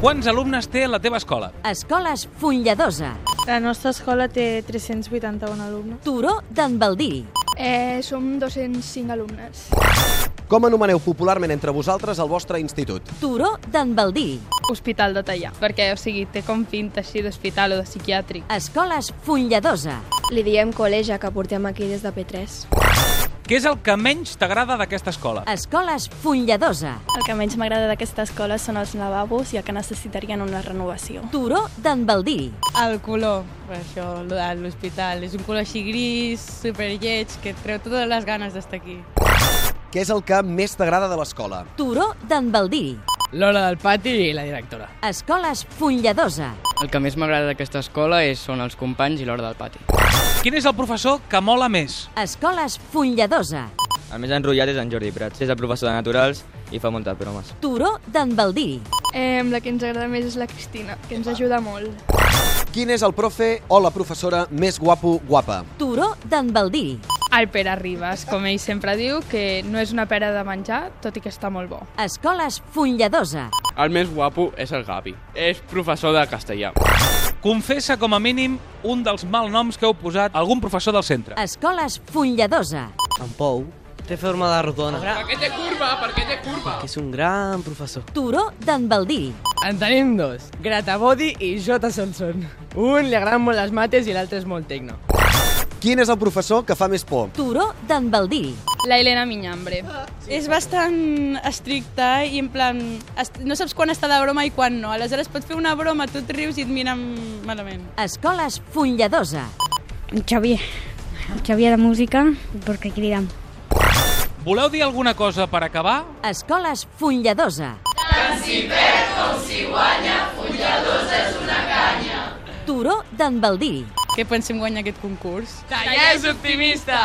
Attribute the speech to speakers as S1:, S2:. S1: Quants alumnes té la teva escola?
S2: Escoles Fulladosa,
S3: La nostra escola té 381 alumnes.
S2: Turó d'en Baldiri,
S4: Eh, som 205 alumnes.
S5: Com anomeneu popularment entre vosaltres el vostre institut?
S2: Turó d'en Baldiri,
S6: Hospital de Tallà, perquè, o sigui, té com pinta així d'hospital o de psiquiàtric.
S2: Escoles Fulladosa,
S7: Li diem col·legia, que portem aquí des de P3.
S1: Què és el que menys t'agrada d'aquesta escola?
S2: Escoles Fulladosa,
S8: El que menys m'agrada d'aquesta escola són els lavabos, ja que necessitarien una renovació.
S2: Turó d'en Baldiri,
S6: El color, per això, lo de l'hospital. És un color així gris, superlleig, que et treu totes les ganes d'estar aquí.
S5: Què és el que més t'agrada de l'escola?
S2: Turó d'en Baldiri,
S9: L'hora del pati i la directora.
S2: Escoles Fulladosa,
S9: El que més m'agrada d'aquesta escola és, són els companys i l'hora del pati.
S1: Quin és el professor que mola més?
S2: Escoles Fulladosa,
S9: El més enrotllat és en Jordi Prats. És el professor de Naturals i fa moltes bromes.
S2: Turó d'en Baldiri,
S4: Eh, la que ens agrada més és la Cristina, que ens ajuda molt.
S5: Quin és el profe o la professora més guapo guapa?
S2: Turó d'en Baldiri,
S6: El Pere Ribas, com ell sempre diu, que no és una pera de menjar, tot i que està molt bo.
S2: Escoles Fulladosa,
S9: El més guapo és el Gavi. És professor de castellà.
S1: Confessa com a mínim un dels malnoms que heu posat a algun professor del centre.
S2: Escoles Fulladosa,
S10: En Pou té forma de rodona,
S9: Per què té curva? Per què té curva?
S10: que és un gran professor.
S2: Turó d'en Baldiri,
S9: En tenim dos, Gratabodi i Jota Sonson. Un li agraden molt les mates i l'altre és molt tecno.
S5: Quin és el professor que fa més por?
S2: Turó d'en Baldiri,
S6: La Helena Minyambre.
S8: Sí. És bastant estricta i en plan, est- no saps quan està de broma i quan no. Aleshores pot fer una broma, tu et rius i et miren malament.
S2: Escoles Fulladosa,
S3: Xavier. Xavier de música, perquè cridam.
S1: Voleu dir alguna cosa per acabar?
S2: Escoles Fulladosa. Tant si perd com si guanya, Fulladosa és una canya. Turó d'en Baldiri.
S6: Què pensem guanyar aquest concurs?
S9: Tallers optimista!